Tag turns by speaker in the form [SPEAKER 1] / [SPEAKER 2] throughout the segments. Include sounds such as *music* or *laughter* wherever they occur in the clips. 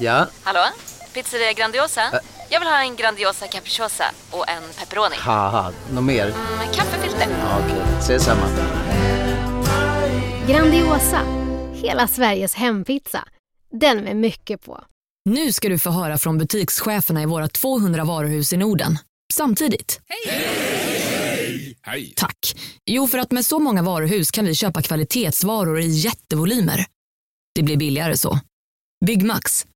[SPEAKER 1] Ja,
[SPEAKER 2] Hallå? Pizzeria Grandiosa? Jag vill ha en Grandiosa capriciosa och en pepperoni.
[SPEAKER 1] haha, något mer?
[SPEAKER 2] Mm, kaffefilter.
[SPEAKER 1] Ja, Okej, ses samma.
[SPEAKER 3] Grandiosa, hela Sveriges hempizza. Den med mycket på.
[SPEAKER 4] Nu ska du få höra från butikscheferna i våra 200 varuhus i Norden. Samtidigt. Hej!
[SPEAKER 5] Hej!
[SPEAKER 4] Tack. Jo, för att med så många varuhus kan vi köpa kvalitetsvaror i jättevolymer. Det blir billigare så. Byggmax.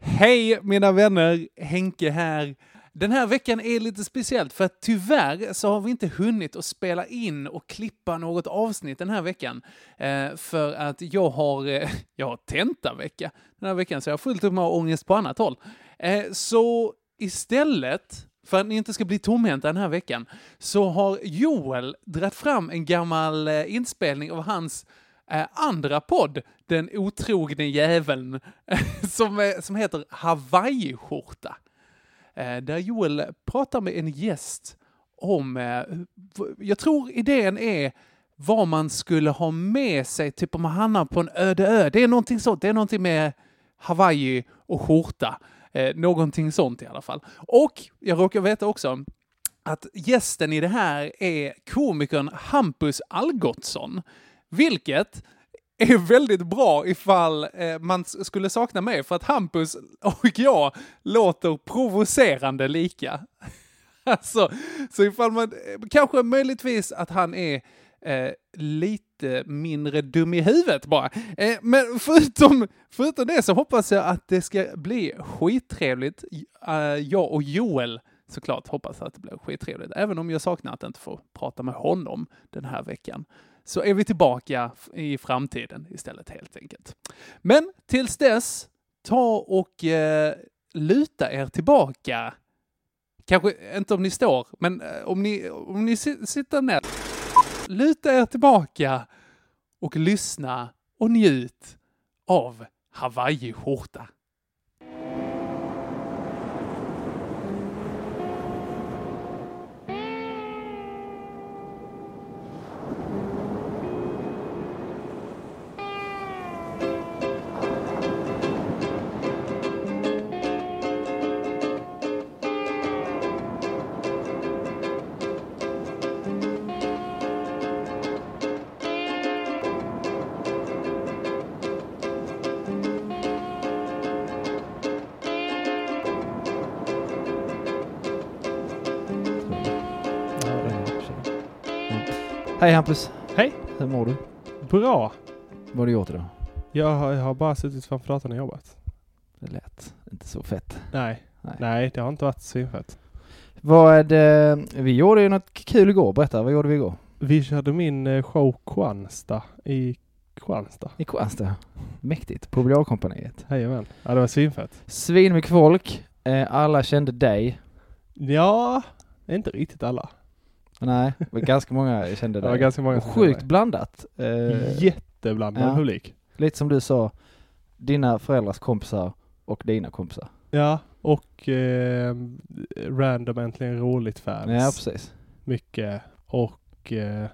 [SPEAKER 6] Hej mina vänner, Henke här. Den här veckan är lite speciellt för att tyvärr så har vi inte hunnit att spela in och klippa något avsnitt den här veckan. Eh, för att jag har, eh, *laughs* jag har tentavecka den här veckan så jag har fullt upp med att ha ångest på annat håll. Eh, så istället för att ni inte ska bli tomhänta den här veckan så har Joel dragit fram en gammal eh, inspelning av hans eh, andra podd, Den otrogne jäveln, *laughs* som, eh, som heter Hawaii-skjorta. Eh, där Joel pratar med en gäst om, eh, v- jag tror idén är vad man skulle ha med sig, typ om man hamnar på en öde ö. Det är någonting sånt, det är någonting med Hawaii och skjorta. Eh, någonting sånt i alla fall. Och jag råkar veta också att gästen i det här är komikern Hampus Algotsson, vilket är väldigt bra ifall eh, man s- skulle sakna mig, för att Hampus och jag låter provocerande lika. *laughs* Alltså, så ifall man, eh, kanske möjligtvis att han är eh, lite mindre dum i huvudet bara. Eh, men förutom, förutom det så hoppas jag att det ska bli skittrevligt. Eh, jag och Joel såklart hoppas att det blir skittrevligt, även om jag saknar att inte få prata med honom den här veckan. Så är vi tillbaka f- i framtiden istället helt enkelt. Men tills dess, ta och eh, luta er tillbaka Kanske inte om ni står, men eh, om ni, om ni si- sitter ner. Luta er tillbaka och lyssna och njut av Hawaii-skjorta.
[SPEAKER 7] Hej Hampus!
[SPEAKER 8] Hej.
[SPEAKER 7] Hur mår du?
[SPEAKER 8] Bra!
[SPEAKER 7] Vad har du gjort idag?
[SPEAKER 8] Jag har, jag har bara suttit framför datorn och jobbat.
[SPEAKER 7] Det lät inte så fett.
[SPEAKER 8] Nej.
[SPEAKER 7] Nej.
[SPEAKER 8] Nej, det har inte varit svinfett.
[SPEAKER 7] Vad, eh, vi gjorde ju något kul igår, berätta, vad gjorde vi igår?
[SPEAKER 8] Vi körde min eh, show Kwanstad i Kwanstad.
[SPEAKER 7] I Kristianstad. Mäktigt, på Biljardkompaniet.
[SPEAKER 8] Jajamän. Ja, det var svinfett.
[SPEAKER 7] Svinmycket folk, eh, alla kände dig.
[SPEAKER 8] Ja, inte riktigt alla.
[SPEAKER 7] Nej, det var ganska många
[SPEAKER 8] *laughs*
[SPEAKER 7] kände
[SPEAKER 8] Det
[SPEAKER 7] dig.
[SPEAKER 8] var ganska många
[SPEAKER 7] Och
[SPEAKER 8] som
[SPEAKER 7] Sjukt
[SPEAKER 8] kände
[SPEAKER 7] blandat.
[SPEAKER 8] mig.
[SPEAKER 7] Eh,
[SPEAKER 8] Jätteblandad
[SPEAKER 7] ja.
[SPEAKER 8] publik.
[SPEAKER 7] Lite som du sa, dina föräldrars kompisar och dina kompisar.
[SPEAKER 8] Ja, och eh, random äntligen roligt fans.
[SPEAKER 7] Ja, precis.
[SPEAKER 8] Mycket. Och, eh,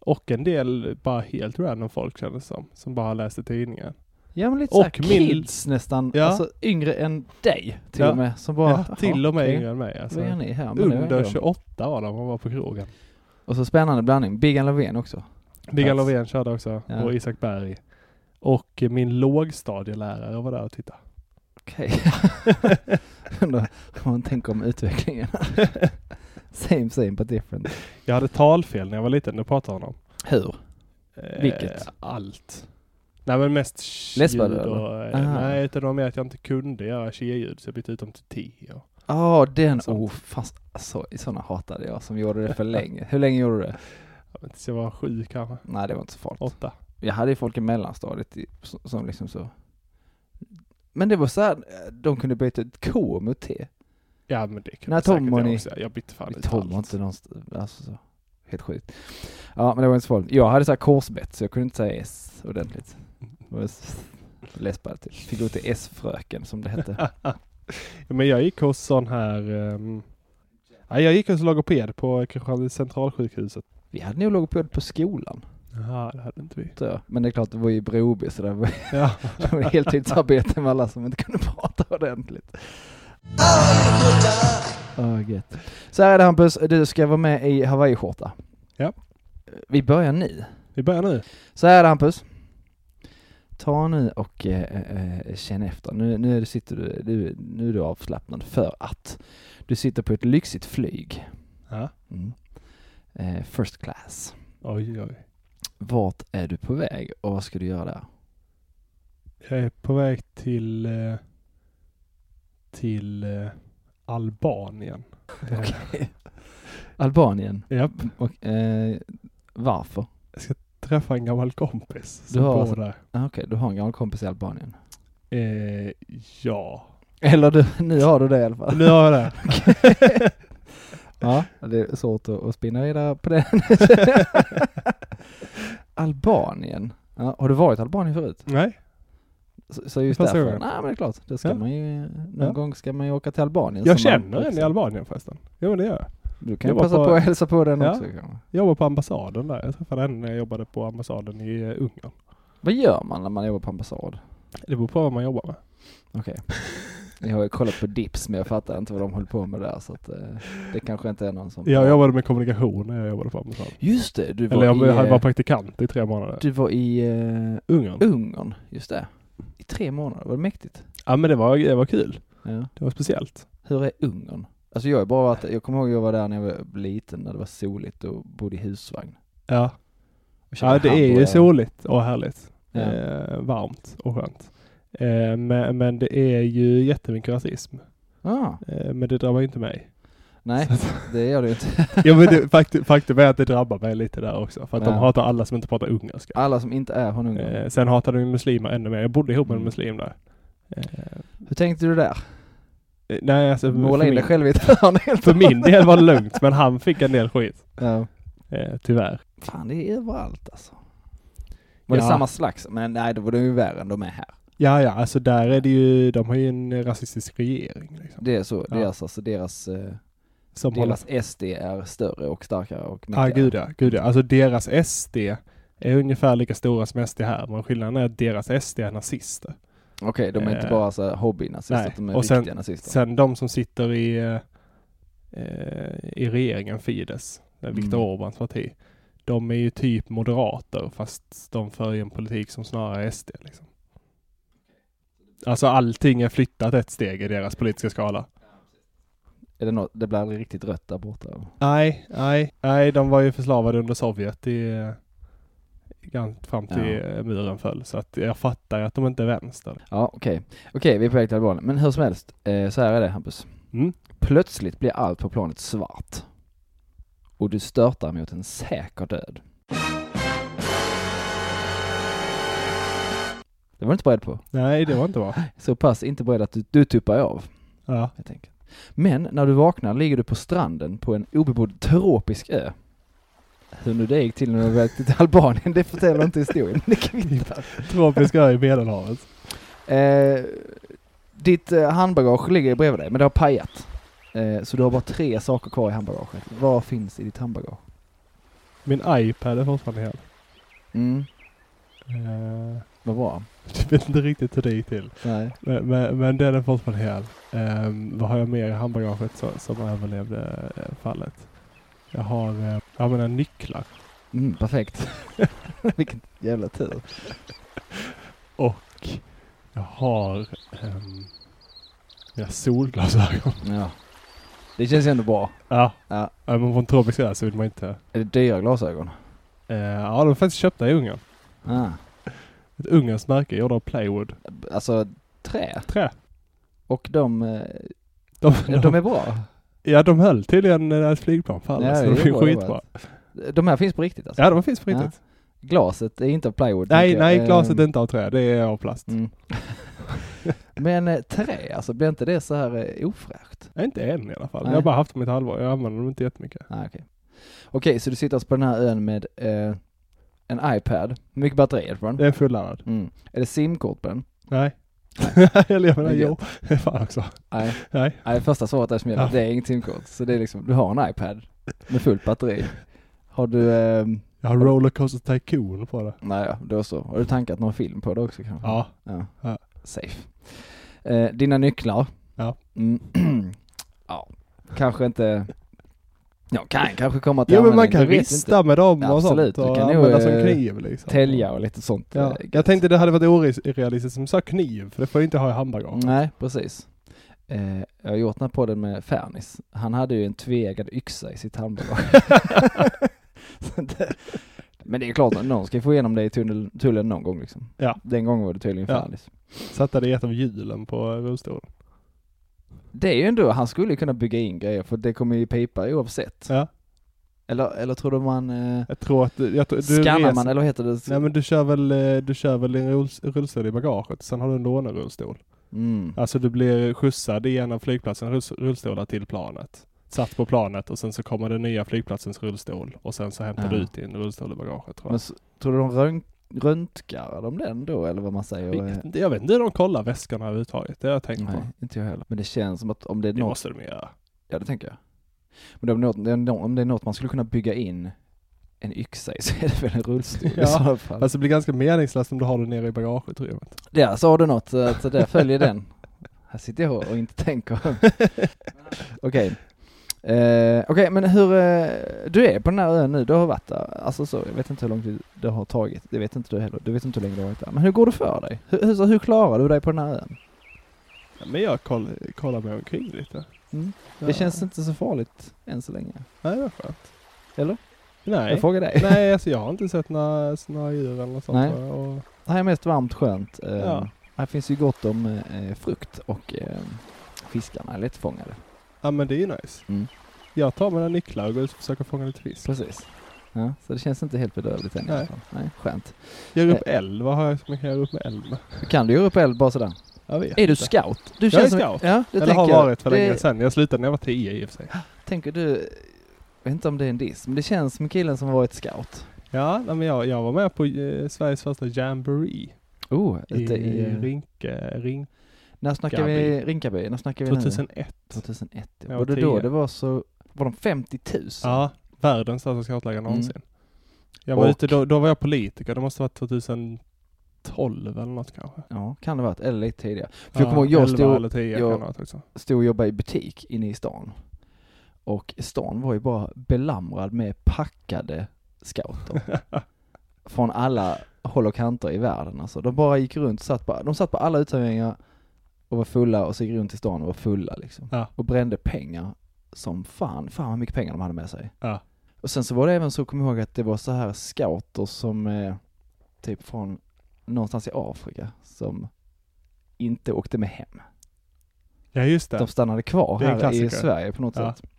[SPEAKER 8] och en del bara helt random folk kändes det som. Som bara läste tidningen.
[SPEAKER 7] Ja men lite
[SPEAKER 8] Och
[SPEAKER 7] såhär
[SPEAKER 8] min-
[SPEAKER 7] kids nästan,
[SPEAKER 8] Ja.
[SPEAKER 7] alltså yngre än dig till
[SPEAKER 8] Ja.
[SPEAKER 7] och med. Som bara,
[SPEAKER 8] ja, till och med
[SPEAKER 7] okej.
[SPEAKER 8] yngre än mig. Alltså.
[SPEAKER 7] Vad gör ni här? Men det var
[SPEAKER 8] Under
[SPEAKER 7] ändå-
[SPEAKER 8] 28 var de och var på krogen.
[SPEAKER 7] Och så spännande blandning, Biggan Löfven också.
[SPEAKER 8] Mikael
[SPEAKER 7] Plats.
[SPEAKER 8] Lovén körde också
[SPEAKER 7] Ja.
[SPEAKER 8] och Isak Berg. Och eh, min lågstadielärare var där och tittade.
[SPEAKER 7] Okej. *laughs* Undrar vad man tänker om utvecklingen. same same but different.
[SPEAKER 8] Jag hade talfel när jag var liten, det pratade honom.
[SPEAKER 7] Hur?
[SPEAKER 8] Eh,
[SPEAKER 7] Vilket?
[SPEAKER 8] Allt. Nej men mest
[SPEAKER 7] Läspade
[SPEAKER 8] ljud
[SPEAKER 7] du,
[SPEAKER 8] och... eh,
[SPEAKER 7] Aha.
[SPEAKER 8] Nej, utan det var mer att jag inte kunde göra tje-ljud så jag bytte ut dem till ti. Och...
[SPEAKER 7] Ja, den,
[SPEAKER 8] Sånt.
[SPEAKER 7] oh fast alltså, sådana hatade jag som gjorde det för länge. Hur länge gjorde du det?
[SPEAKER 8] Jag vet inte, så jag var sju kanske.
[SPEAKER 7] Nej det var inte så farligt.
[SPEAKER 8] Åtta.
[SPEAKER 7] Jag hade ju folk i mellanstadiet i- som som liksom så Men det var så här, de kunde byta ut K mot T.
[SPEAKER 8] Ja men det kan
[SPEAKER 7] Nej,
[SPEAKER 8] jag säkert
[SPEAKER 7] Tom och
[SPEAKER 8] jag
[SPEAKER 7] ni-
[SPEAKER 8] också säga. Jag bytte fan
[SPEAKER 7] Vi
[SPEAKER 8] ut
[SPEAKER 7] håller
[SPEAKER 8] allt.
[SPEAKER 7] inte någonstans, alltså så. Helt sjukt. Ja, men det var inte så farligt. Jag hade så här korsbett, så jag kunde inte säga S ordentligt. Jag var s- less på alltid. Fick gå till S-fröken, som det hette.
[SPEAKER 8] *laughs* Ja, Men jag gick hos sån här... ehm, ja, jag gick hos logoped på Kristianstad centralsjukhuset.
[SPEAKER 7] Vi hade nog logoped på skolan,
[SPEAKER 8] Jaha, det hade inte vi.
[SPEAKER 7] tror jag. Men det är klart, det var ju i Broby, så det var,
[SPEAKER 8] Ja.
[SPEAKER 7] *laughs* det var heltidsarbete med alla som inte kunde *laughs* prata ordentligt.
[SPEAKER 8] Ah,
[SPEAKER 7] Oh, gött. Så här är det Hampus, du ska vara med i hawaiiskjorta.
[SPEAKER 8] Ja.
[SPEAKER 7] Vi börjar nu.
[SPEAKER 8] Vi börjar nu.
[SPEAKER 7] Så här är det, Hampus. Ta nu och eh, eh, eh, känn efter. Nu, nu, är du, sitter du, du, nu är du avslappnad för att du sitter på ett lyxigt flyg.
[SPEAKER 8] Ja.
[SPEAKER 7] Mm. Eh, first class.
[SPEAKER 8] Oj, oj.
[SPEAKER 7] Vart är du på väg och vad ska du göra där?
[SPEAKER 8] Jag är på väg till... eh, till eh, Albanien.
[SPEAKER 7] *laughs* Okej. *laughs* Albanien.
[SPEAKER 8] Japp.
[SPEAKER 7] Och, eh, varför?
[SPEAKER 8] Träffa en gammal kompis
[SPEAKER 7] Du
[SPEAKER 8] som
[SPEAKER 7] har
[SPEAKER 8] bor
[SPEAKER 7] alltså-
[SPEAKER 8] där.
[SPEAKER 7] Ah, Okej, du har en gammal kompis i Albanien. *laughs*
[SPEAKER 8] Eh, ja.
[SPEAKER 7] Eller du, nu har du det i alla fall.
[SPEAKER 8] Nu har jag
[SPEAKER 7] *laughs*
[SPEAKER 8] det.
[SPEAKER 7] Ja, det är svårt att, att spinna vidare
[SPEAKER 8] *laughs*
[SPEAKER 7] på den. Albanien. Ja, har du varit i Albanien förut?
[SPEAKER 8] Nej.
[SPEAKER 7] Så, så just
[SPEAKER 8] Första
[SPEAKER 7] därför? Nej
[SPEAKER 8] gången.
[SPEAKER 7] men det är klart, då ska
[SPEAKER 8] Ja.
[SPEAKER 7] man ju, någon
[SPEAKER 8] Ja.
[SPEAKER 7] gång ska man ju åka till Albanien.
[SPEAKER 8] Jag
[SPEAKER 7] som man-
[SPEAKER 8] känner en i Albanien förresten. Jo, men det gör jag.
[SPEAKER 7] Du kan ju
[SPEAKER 8] Jag var
[SPEAKER 7] passa på,
[SPEAKER 8] på-
[SPEAKER 7] att hälsa på den
[SPEAKER 8] Ja.
[SPEAKER 7] också kanske.
[SPEAKER 8] Jag jobbar på ambassaden där. Jag träffade henne när jag jobbade på ambassaden i eh, Ungern.
[SPEAKER 7] Vad gör man när man jobbar på ambassad?
[SPEAKER 8] Det beror på vad man jobbar med.
[SPEAKER 7] Okej. Jag har ju kollat på Dips men jag fattar inte vad de håller på med där så att eh, det kanske inte är någon som...
[SPEAKER 8] Jag jobbade med kommunikation när jag jobbade på ambassaden.
[SPEAKER 7] Just det, du var
[SPEAKER 8] Eller jag
[SPEAKER 7] i,
[SPEAKER 8] var,
[SPEAKER 7] eh,
[SPEAKER 8] var praktikant i tre månader.
[SPEAKER 7] du var i eh,
[SPEAKER 8] Ungern.
[SPEAKER 7] Ungern, just det. I tre månader, var det mäktigt?
[SPEAKER 8] Ja men det var, det var kul.
[SPEAKER 7] Ja.
[SPEAKER 8] Det var speciellt.
[SPEAKER 7] Hur är Ungern? Alltså jag är bara varit, jag kommer ihåg jag var där när jag var liten när det var soligt och bodde i husvagn.
[SPEAKER 8] Ja,
[SPEAKER 7] Och
[SPEAKER 8] ja
[SPEAKER 7] käkade
[SPEAKER 8] det är ju
[SPEAKER 7] hamburgare.
[SPEAKER 8] soligt och härligt.
[SPEAKER 7] Ja.
[SPEAKER 8] Eh, varmt och skönt. Eh, men, men det är ju jättemycket rasism.
[SPEAKER 7] Ja,
[SPEAKER 8] Eh, men det drabbar ju inte *laughs* mig.
[SPEAKER 7] Ah, nej
[SPEAKER 8] Så att-
[SPEAKER 7] det gör det ju inte.
[SPEAKER 8] ja, men det, faktum, faktum är att det drabbar mig lite där också. För att
[SPEAKER 7] Ja.
[SPEAKER 8] de hatar alla som inte pratar ungerska.
[SPEAKER 7] Alla som inte är från Ungern.
[SPEAKER 8] Eh, sen hatar de ju muslimer ännu mer. Jag bodde ihop med en
[SPEAKER 7] Mm.
[SPEAKER 8] muslim där. Eh,
[SPEAKER 7] Hur tänkte du där?
[SPEAKER 8] eh, nej alltså,
[SPEAKER 7] Måla
[SPEAKER 8] för,
[SPEAKER 7] in dig
[SPEAKER 8] min,
[SPEAKER 7] själv i ett hörn helt
[SPEAKER 8] för
[SPEAKER 7] och
[SPEAKER 8] min
[SPEAKER 7] hållet.
[SPEAKER 8] del var det lugnt. Men han fick en del skit.
[SPEAKER 7] Ja.
[SPEAKER 8] Eh, tyvärr.
[SPEAKER 7] Fan det är överallt alltså. Var det
[SPEAKER 8] Ja.
[SPEAKER 7] samma slags? Men nej då var det ju värre än de är här.
[SPEAKER 8] Ja, ja, alltså där är det ju, de har ju en rasistisk regering liksom.
[SPEAKER 7] Det är så,
[SPEAKER 8] Ja.
[SPEAKER 7] det är alltså, alltså deras, eh,
[SPEAKER 8] Som håller...
[SPEAKER 7] deras SD är större och starkare och
[SPEAKER 8] Ja, gud ja, gud ja. Alltså deras SD är ungefär lika stora som SD här, men skillnaden är att deras SD är nazister.
[SPEAKER 7] Okej, de är inte
[SPEAKER 8] Eh,
[SPEAKER 7] bara så här hobbynazister,
[SPEAKER 8] nej.
[SPEAKER 7] de är
[SPEAKER 8] Och sen-
[SPEAKER 7] riktiga nazister.
[SPEAKER 8] Sen de som sitter i, eh, eh, i regeringen, Fides, eh, Viktor
[SPEAKER 7] Mm.
[SPEAKER 8] Orbáns parti, de är ju typ moderater fast de för ju en politik som snarare är SD liksom. Alltså allting är flyttat ett steg i deras politiska skala.
[SPEAKER 7] Är det, något, det blir aldrig riktigt rött där borta? eller?
[SPEAKER 8] Nej, nej, nej, de var ju förslavade under Sovjet i, eh, gan- fram till
[SPEAKER 7] Ja.
[SPEAKER 8] eh, muren föll. Så att jag fattar ju att de inte är vänster.
[SPEAKER 7] Ja, okej. Okej, vi är på väg till Albanien. Men hur som helst, eh, så här är det Hampus.
[SPEAKER 8] Mm.
[SPEAKER 7] Plötsligt blir allt på planet svart. Och du störtar mot en säker död. Det var du inte beredd på.
[SPEAKER 8] Nej, det var inte bra.
[SPEAKER 7] Så pass inte beredd att du, du tuppar av,
[SPEAKER 8] Ja.
[SPEAKER 7] helt enkelt. Men när du vaknar ligger du på stranden på en obebodd tropisk ö. Hur nu det gick till när du var till Albanien, det förtäljer inte historien. *laughs* Men det kvittar.
[SPEAKER 8] Tropisk ö i Medelhavet.
[SPEAKER 7] Eh, ditt eh, handbagage ligger bredvid dig, men det har pajat. Eh, så du har bara tre saker kvar i handbagaget. Vad finns i ditt handbagage?
[SPEAKER 8] Min iPad är fortfarande hel.
[SPEAKER 7] Mm,
[SPEAKER 8] Eh,
[SPEAKER 7] vad bra.
[SPEAKER 8] *laughs* jag vet inte riktigt hur det gick till.
[SPEAKER 7] Nej.
[SPEAKER 8] Men, men, men den är fortfarande hel. Ehm, vad har jag mer i handbagaget så, som överlevde eh, fallet? Jag har, eh, jag menar nycklar.
[SPEAKER 7] Mm, perfekt. *laughs* Vilken jävla tur.
[SPEAKER 8] Och jag har ehm, mina solglasögon. *laughs*
[SPEAKER 7] Ja. Det känns ju ändå bra.
[SPEAKER 8] Ja.
[SPEAKER 7] Ja.
[SPEAKER 8] ja. Men från tropisk ö så vill man inte.
[SPEAKER 7] Är det dyra glasögon?
[SPEAKER 8] Eh, ja, de är faktiskt köpta i Ungern.
[SPEAKER 7] Ah.
[SPEAKER 8] Ett ungerskt märke gjorda av plywood.
[SPEAKER 7] Alltså, trä.
[SPEAKER 8] Trä.
[SPEAKER 7] Och de, eh,
[SPEAKER 8] De,
[SPEAKER 7] ja, de är bra.
[SPEAKER 8] *laughs* ja, de höll tydligen när ett flygplan föll.
[SPEAKER 7] Ja,
[SPEAKER 8] så
[SPEAKER 7] det
[SPEAKER 8] de
[SPEAKER 7] är
[SPEAKER 8] är ju
[SPEAKER 7] bra
[SPEAKER 8] skitbra.
[SPEAKER 7] jobbat. De här finns på riktigt alltså?
[SPEAKER 8] Ja, de finns på riktigt.
[SPEAKER 7] Glaset är inte av plywood.
[SPEAKER 8] Nej,
[SPEAKER 7] tänker ehm, jag.
[SPEAKER 8] nej, glaset är
[SPEAKER 7] Eh,
[SPEAKER 8] inte av trä. Det är av plast.
[SPEAKER 7] Mm. *laughs* Men eh, trä, alltså blir inte det så här eh, ofräscht?
[SPEAKER 8] Nej, inte än i alla fall.
[SPEAKER 7] Nej.
[SPEAKER 8] Jag har bara haft dem i ett halvår. Jag använder dem inte jättemycket.
[SPEAKER 7] Nej, okej. Okej, så du sitter alltså på den här ön med eh, en iPad. Hur mycket batteri är det på den?
[SPEAKER 8] Det är fulladdad.
[SPEAKER 7] Mm. Är det simkort på den?
[SPEAKER 8] Nej. Eller *laughs* jag menar,
[SPEAKER 7] Det är
[SPEAKER 8] jo. Fan också.
[SPEAKER 7] Nej.
[SPEAKER 8] Nej.
[SPEAKER 7] Nej, första svaret är som gäller.
[SPEAKER 8] Ja.
[SPEAKER 7] Det är inget simkort. Så det är liksom, du har en iPad med fullt batteri. Har du, eh,
[SPEAKER 8] Jag har Rollercoaster Tycoon på det.
[SPEAKER 7] nej då så. Har du tankat någon film på det också kanske?
[SPEAKER 8] Ja.
[SPEAKER 7] Ja.
[SPEAKER 8] Ja.
[SPEAKER 7] Safe. Eh, dina nycklar?
[SPEAKER 8] Ja.
[SPEAKER 7] Mm. *clears throat* ja. Kanske inte... Jag kan kanske komma till
[SPEAKER 8] Jo men man
[SPEAKER 7] användning,
[SPEAKER 8] kan
[SPEAKER 7] du vet inte.
[SPEAKER 8] rista med dem och
[SPEAKER 7] Absolut,
[SPEAKER 8] sånt.
[SPEAKER 7] du
[SPEAKER 8] Och
[SPEAKER 7] kan nog,
[SPEAKER 8] använda som
[SPEAKER 7] eh,
[SPEAKER 8] kniv liksom.
[SPEAKER 7] Tälja och lite sånt. eh,
[SPEAKER 8] Ja.
[SPEAKER 7] gött.
[SPEAKER 8] Jag tänkte det hade varit orealistiskt som sa kniv, för det får jag inte ha i handbagaget.
[SPEAKER 7] Nej, precis. Eh, jag har gjort den här podden med Fernis. Han hade ju en tveeggad yxa i
[SPEAKER 8] *laughs*
[SPEAKER 7] sitt handbagage. *laughs* Så det- Men det är klart, att någon ska få igenom det i tunnel, tullen någon gång liksom.
[SPEAKER 8] Ja.
[SPEAKER 7] Den gången var det tydligen
[SPEAKER 8] Ja.
[SPEAKER 7] Fernis.
[SPEAKER 8] Satte det i ett av hjulen på rullstolen.
[SPEAKER 7] Det är ju ändå, han skulle ju kunna bygga in grejer för det kommer ju pipa oavsett.
[SPEAKER 8] Ja.
[SPEAKER 7] Eller, eller tror du man... Eh,
[SPEAKER 8] Jag tror att jag tror, du
[SPEAKER 7] skannar
[SPEAKER 8] reser-
[SPEAKER 7] man eller vad heter det?
[SPEAKER 8] Nej men du kör väl, eh, du kör väl din rulls- rullstol i bagaget, sen har du en lånerullstol.
[SPEAKER 7] Mm.
[SPEAKER 8] Alltså du blir skjutsad igenom flygplatsen rulls- rullstolar till planet. Satt på planet och sen så kommer den nya flygplatsens rullstol och sen så hämtar
[SPEAKER 7] Ja.
[SPEAKER 8] du ut din rullstol i bagaget tror
[SPEAKER 7] Men
[SPEAKER 8] jag.
[SPEAKER 7] s- tror du de rön- röntgar de den då eller vad man säger? Eh,
[SPEAKER 8] Jag vet inte, jag vet inte hur de kollar väskorna överhuvudtaget, det har jag tänkt
[SPEAKER 7] Nej,
[SPEAKER 8] på.
[SPEAKER 7] inte jag heller. Men det känns som att om det är
[SPEAKER 8] Det
[SPEAKER 7] något
[SPEAKER 8] måste de göra.
[SPEAKER 7] Ja, det tänker jag. Men om, något, det är nå- om det är något man skulle kunna bygga in en yxa i så är det väl en rullstol i
[SPEAKER 8] Ja,
[SPEAKER 7] så fall.
[SPEAKER 8] Alltså det blir ganska meningslöst om du har det nere i bagageutrymmet.
[SPEAKER 7] ja, sa du något, så så där följer den. Här sitter jag och inte tänker. Okej. Eh, Okej, men hur, eh, du är på den här ön nu, du har varit där, alltså så, jag vet inte hur lång tid det har tagit, det vet inte du heller, du vet inte hur länge du har varit där. Men hur går det för dig? Hur, hur, så hur klarar du dig på den här ön?
[SPEAKER 8] *laughs* Ja, men jag koll, kollar mig omkring lite.
[SPEAKER 7] Mm.
[SPEAKER 8] Ja.
[SPEAKER 7] Det känns inte så farligt än så länge.
[SPEAKER 8] Nej, det var skönt.
[SPEAKER 7] Eller?
[SPEAKER 8] Nej.
[SPEAKER 7] Jag frågar dig.
[SPEAKER 8] Nej, alltså jag har inte sett några, några djur eller något sånt.
[SPEAKER 7] Nej.
[SPEAKER 8] va? Och,
[SPEAKER 7] Det här är mest varmt skönt. Eh,
[SPEAKER 8] Ja.
[SPEAKER 7] Här finns ju gott om eh, frukt och eh, fiskarna är lättfångade.
[SPEAKER 8] ja men det är ju nice.
[SPEAKER 7] Mm.
[SPEAKER 8] Jag tar mina nycklar och går ut och försöker fånga lite fisk.
[SPEAKER 7] Precis. Ja, så det känns inte helt bedrövligt än i
[SPEAKER 8] Nej.
[SPEAKER 7] alla fall. Nej, skönt.
[SPEAKER 8] Gör upp
[SPEAKER 7] Eh.
[SPEAKER 8] eld, vad har jag som jag kan göra upp med eld med?
[SPEAKER 7] Kan du göra upp eld bara sådär?
[SPEAKER 8] Jag vet
[SPEAKER 7] Är du
[SPEAKER 8] inte.
[SPEAKER 7] scout? Du
[SPEAKER 8] Jag är
[SPEAKER 7] som-
[SPEAKER 8] scout.
[SPEAKER 7] Ja, det
[SPEAKER 8] Eller har
[SPEAKER 7] tänker jag.
[SPEAKER 8] varit för
[SPEAKER 7] Det-
[SPEAKER 8] länge sedan. Jag slutade när jag var tio i och för sig.
[SPEAKER 7] Tänker du, jag vet inte om det är en diss, men det känns som killen som har varit scout.
[SPEAKER 8] Ja, nej, men jag, jag var med på eh, Sveriges första jamboree.
[SPEAKER 7] Oh,
[SPEAKER 8] I,
[SPEAKER 7] ute i, eh,
[SPEAKER 8] Rinke, Rink,
[SPEAKER 7] när snackar vi Rinkaby? När snackar vi nu?
[SPEAKER 8] 2001.
[SPEAKER 7] 2001. Ja.
[SPEAKER 8] Jag
[SPEAKER 7] Var
[SPEAKER 8] var
[SPEAKER 7] det då
[SPEAKER 8] tio.
[SPEAKER 7] det var så, var de 50 000?
[SPEAKER 8] Ja, världens största scoutläger någonsin. Jag
[SPEAKER 7] Mm. Och-
[SPEAKER 8] var ute, då, då var jag politiker, det måste ha varit 2012 eller något kanske.
[SPEAKER 7] Ja, kan det ha varit, eller lite tidigare. För jag kommer ihåg,
[SPEAKER 8] elva
[SPEAKER 7] jag stod,
[SPEAKER 8] eller 10
[SPEAKER 7] jag-
[SPEAKER 8] kan det ha varit också. *laughs*
[SPEAKER 7] stod och jobbade i butik inne i stan. Och stan var ju bara belamrad med packade scouter. från alla håll och kanter i världen alltså. De bara gick runt, satt på, de satt på alla uteserveringar och var fulla och så gick runt i stan och var fulla liksom.
[SPEAKER 8] Ja.
[SPEAKER 7] Och brände pengar som fan, fan vad mycket pengar de hade med sig.
[SPEAKER 8] Ja.
[SPEAKER 7] Och sen så var det även så, kom ihåg att det var så här scouter som eh, typ från någonstans i Afrika som inte åkte med hem.
[SPEAKER 8] Ja just det.
[SPEAKER 7] De stannade kvar
[SPEAKER 8] Det är en
[SPEAKER 7] här i
[SPEAKER 8] klassiker.
[SPEAKER 7] Sverige på något
[SPEAKER 8] Ja.
[SPEAKER 7] sätt.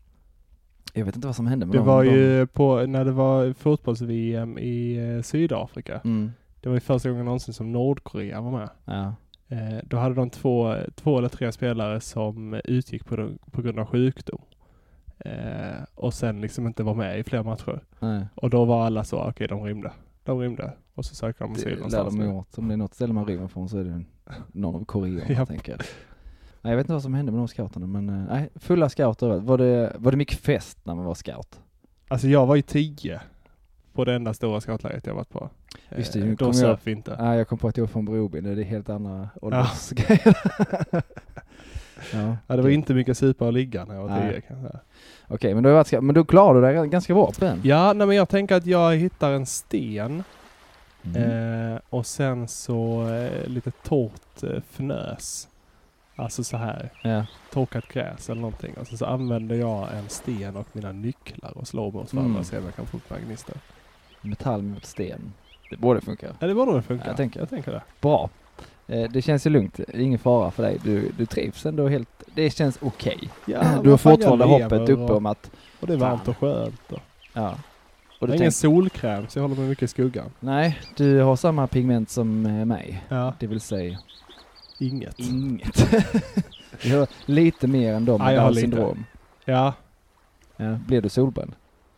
[SPEAKER 7] Jag vet inte vad som hände med
[SPEAKER 8] Det
[SPEAKER 7] dem.
[SPEAKER 8] var
[SPEAKER 7] De-
[SPEAKER 8] ju på, när det var fotbolls-VM i eh, Sydafrika.
[SPEAKER 7] Mm.
[SPEAKER 8] Det var ju första gången någonsin som Nordkorea var med.
[SPEAKER 7] Ja.
[SPEAKER 8] Eh, då hade de två, två eller tre spelare som utgick på, på grund av sjukdom. Eh, och sen liksom inte var med i fler matcher.
[SPEAKER 7] Nej.
[SPEAKER 8] Och då var alla så, okej de rymde. De rymde. Och så söker de asyl
[SPEAKER 7] Det lär
[SPEAKER 8] någonstans.
[SPEAKER 7] de
[SPEAKER 8] nu.
[SPEAKER 7] ju åt. Om det är något ställe man rymmer från så är det en- någon
[SPEAKER 8] *laughs*
[SPEAKER 7] av koreanerna
[SPEAKER 8] Japp.
[SPEAKER 7] tänker jag. Nej, jag vet inte vad som hände med de scouterna men eh, nej, fulla scouter överallt. var det, var det mycket fest när man var scout?
[SPEAKER 8] Alltså jag var ju tio på det enda stora scoutlägret jag varit på. Eh,
[SPEAKER 7] Just det, nu
[SPEAKER 8] då
[SPEAKER 7] kommer
[SPEAKER 8] söp
[SPEAKER 7] jag-
[SPEAKER 8] vi inte.
[SPEAKER 7] Nej, jag kom på att jag var från Broby nu, det är helt andra åldersgrejer.
[SPEAKER 8] *laughs*
[SPEAKER 7] ja.
[SPEAKER 8] Ja, det var inte mycket supa och ligga när jag var
[SPEAKER 7] Nej.
[SPEAKER 8] tio kan jag säga.
[SPEAKER 7] Okej, men, då har jag varit scout. men då klarar du dig ganska bra på den?
[SPEAKER 8] Ja, nej, men jag tänker att jag hittar en sten
[SPEAKER 7] Mm.
[SPEAKER 8] eh, och sen så eh, lite torrt eh, fnös. Alltså så här,
[SPEAKER 7] ja.
[SPEAKER 8] torkat gräs eller någonting. Och sen så använder jag en sten och mina nycklar och slår mot varandra
[SPEAKER 7] Mm.
[SPEAKER 8] och ser om jag kan få upp några gnistor.
[SPEAKER 7] Metall mot sten. Det borde funka.
[SPEAKER 8] Ja, det borde väl funka.
[SPEAKER 7] Jag tänker-
[SPEAKER 8] jag tänker det.
[SPEAKER 7] Bra. Eh, Det känns ju lugnt, det är ingen fara för dig. Du, du trivs ändå helt, det känns okej.
[SPEAKER 8] Ja,
[SPEAKER 7] Du har
[SPEAKER 8] vad fan, jag
[SPEAKER 7] fortfarande
[SPEAKER 8] lever
[SPEAKER 7] hoppet uppe
[SPEAKER 8] och-
[SPEAKER 7] om att,
[SPEAKER 8] Och det är
[SPEAKER 7] Fan.
[SPEAKER 8] varmt och skönt. Och.
[SPEAKER 7] ja. Och
[SPEAKER 8] Jag
[SPEAKER 7] du
[SPEAKER 8] har
[SPEAKER 7] tänker,
[SPEAKER 8] ingen solkräm så jag håller mig mycket i skuggan.
[SPEAKER 7] nej, du har samma pigment som eh, mig.
[SPEAKER 8] Ja.
[SPEAKER 7] Det vill säga
[SPEAKER 8] Inget.
[SPEAKER 7] Inget. *laughs* Vi har lite mer än de
[SPEAKER 8] Ja,
[SPEAKER 7] med
[SPEAKER 8] jag har
[SPEAKER 7] Downs
[SPEAKER 8] lite.
[SPEAKER 7] syndrom.
[SPEAKER 8] Ja.
[SPEAKER 7] Ja. Blir du solbränd?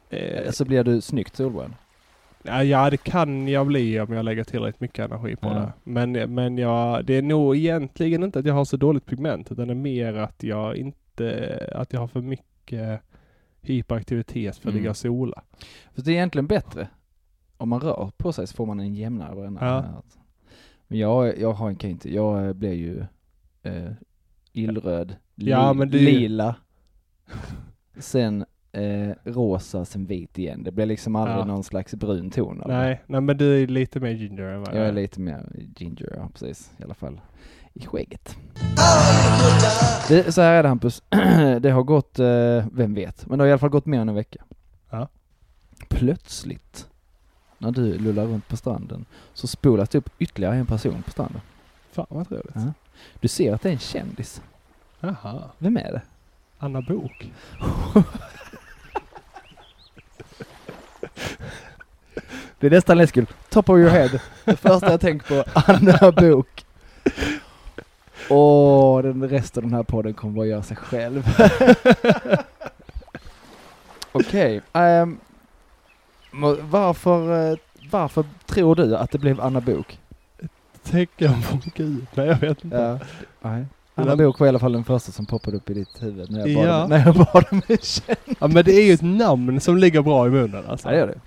[SPEAKER 8] Eh,
[SPEAKER 7] Eller så blir du snyggt solbränd.
[SPEAKER 8] ja, ja, det kan jag bli om jag lägger tillräckligt mycket energi på
[SPEAKER 7] Ja.
[SPEAKER 8] det. Men, men jag, det är nog egentligen inte att jag har så dåligt pigment, utan det är mer att jag inte, att jag har för mycket hyperaktivitet för att
[SPEAKER 7] Mm.
[SPEAKER 8] ligga och sola.
[SPEAKER 7] För det är egentligen bättre. Om man rör på sig så får man en jämnare bränna.
[SPEAKER 8] Ja.
[SPEAKER 7] Men jag, jag har en kan inte, jag eh, blir ju eh, illröd, li,
[SPEAKER 8] Ja, men det är ju-
[SPEAKER 7] lila, sen eh, rosa, sen vit igen. Det blir liksom aldrig
[SPEAKER 8] Ja.
[SPEAKER 7] någon slags brun ton av det.
[SPEAKER 8] Nej, nej men du är lite mer ginger än vad
[SPEAKER 7] Jag är lite mer ginger, ja, precis. I alla fall i skägget. Det, så här är det Hampus. *clears throat* det har gått, eh, vem vet, men det har i alla fall gått mer än en vecka.
[SPEAKER 8] Ja.
[SPEAKER 7] Plötsligt, när du lullar runt på stranden, så spolas det upp ytterligare en person på stranden.
[SPEAKER 8] Fan vad trevligt.
[SPEAKER 7] Ja. Du ser att det är en kändis.
[SPEAKER 8] Jaha.
[SPEAKER 7] Vem är det?
[SPEAKER 8] Anna Bok.
[SPEAKER 7] Det är nästan läskigt. Top of your head. Det första jag tänker på, *laughs* Anna Bok. Åh, den resten av den här podden kommer bara göra sig själv. *laughs* Okej, ehm, må- varför, eh, varför tror du att det blev Anna Bok?
[SPEAKER 8] Tänker jag på Gud? Nej, jag vet inte.
[SPEAKER 7] Ja. Nej. Anna Bok var i alla fall den första som poppade upp i ditt huvud när jag bad
[SPEAKER 8] Ja.
[SPEAKER 7] om- när jag bad om ursäkt.
[SPEAKER 8] Ja, men det är ju ett namn som ligger bra i munnen alltså.
[SPEAKER 7] *laughs* Ja, det gör det.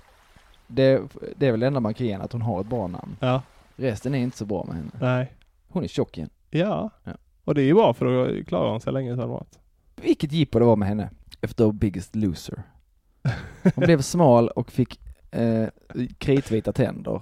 [SPEAKER 7] det. Det är väl det enda man kan ge henne, att hon har ett bra namn.
[SPEAKER 8] Ja,
[SPEAKER 7] Resten är inte så bra med henne.
[SPEAKER 8] nej.
[SPEAKER 7] Hon är tjock igen.
[SPEAKER 8] Ja.
[SPEAKER 7] Ja.
[SPEAKER 8] Och det är ju bra för då klarar hon sig länge utan mat.
[SPEAKER 7] Vilket jippo det var med henne efter Biggest Loser. Hon blev smal och fick eh, kritvita tänder.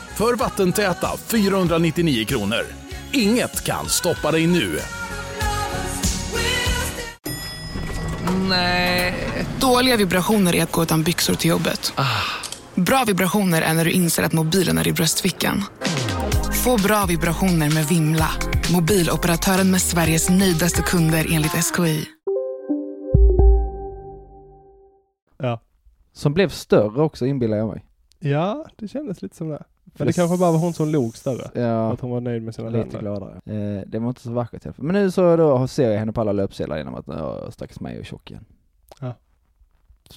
[SPEAKER 5] för vattentäta 499 kronor. Inget kan stoppa dig nu.
[SPEAKER 9] Dåliga vibrationer är att gå utan byxor till jobbet.
[SPEAKER 5] Ah.
[SPEAKER 9] Bra vibrationer är när du inser att mobilen är i bröstfickan. Få bra vibrationer med Vimla. Mobiloperatören med Sveriges nöjdaste kunder enligt SKI.
[SPEAKER 8] Ja.
[SPEAKER 7] Som blev större också inbillar jag mig.
[SPEAKER 8] Ja, det kändes lite som det. Men det
[SPEAKER 7] Precis.
[SPEAKER 8] kanske bara var hon som log större.
[SPEAKER 7] Ja,
[SPEAKER 8] Att hon var nöjd med sina
[SPEAKER 7] lite
[SPEAKER 8] länder.
[SPEAKER 7] gladare. Eh, det var inte så vackert i alla fall. Men nu så då ser jag henne på alla löpsedlar genom att "Åh, stackars mig och tjock igen.
[SPEAKER 8] Ja.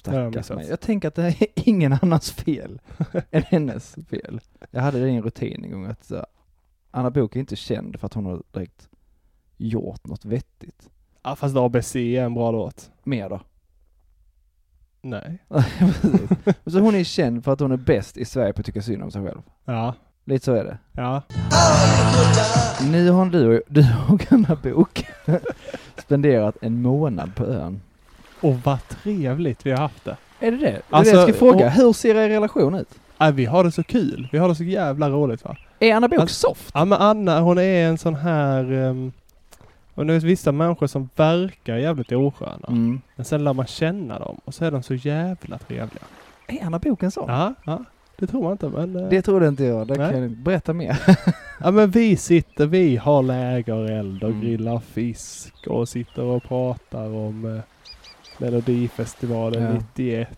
[SPEAKER 8] Det har jag
[SPEAKER 7] Stackars
[SPEAKER 8] missat.
[SPEAKER 7] mig. Jag tänker att det är ingen
[SPEAKER 8] *laughs*
[SPEAKER 7] annans fel än hennes fel. Jag hade det i en rutin en gång att så, Anna Book är inte känd för att hon har direkt gjort något vettigt.
[SPEAKER 8] Ja, fast ABC är en bra låt.
[SPEAKER 7] mer då. *laughs*
[SPEAKER 8] Nej.
[SPEAKER 7] Precis. så hon är känd för att hon är bäst i Sverige på att tycka synd om sig själv.
[SPEAKER 8] Ja.
[SPEAKER 7] Lite så är det.
[SPEAKER 8] Ja.
[SPEAKER 7] Nu har du och, du och Anna Bok *laughs* spenderat en månad på ön.
[SPEAKER 8] Och vad trevligt vi har haft det.
[SPEAKER 7] Är det det? det, är
[SPEAKER 8] Alltså,
[SPEAKER 7] det jag ska fråga.
[SPEAKER 8] och-
[SPEAKER 7] Hur ser er relation ut?
[SPEAKER 8] Ja, Äh, vi har det så kul. Vi har det så jävla roligt va.
[SPEAKER 7] Är Anna Bok
[SPEAKER 8] Alltså-
[SPEAKER 7] soft?
[SPEAKER 8] Ja men Anna hon är en sån här... ehm, och det finns vissa människor som verkar jävligt osköna.
[SPEAKER 7] Mm.
[SPEAKER 8] Men sen lär man känna dem och så är de så jävla trevliga.
[SPEAKER 7] Är Anna Bok en sån?
[SPEAKER 8] Ja, ja. Det tror man inte men... eh,
[SPEAKER 7] Det trodde inte jag. Det
[SPEAKER 8] Nej.
[SPEAKER 7] kan jag inte berätta mer.
[SPEAKER 8] Ja men vi sitter, vi har lägereld och
[SPEAKER 7] Mm.
[SPEAKER 8] grillar fisk och sitter och pratar om eh, Melodifestivalen
[SPEAKER 7] Ja.
[SPEAKER 8] 91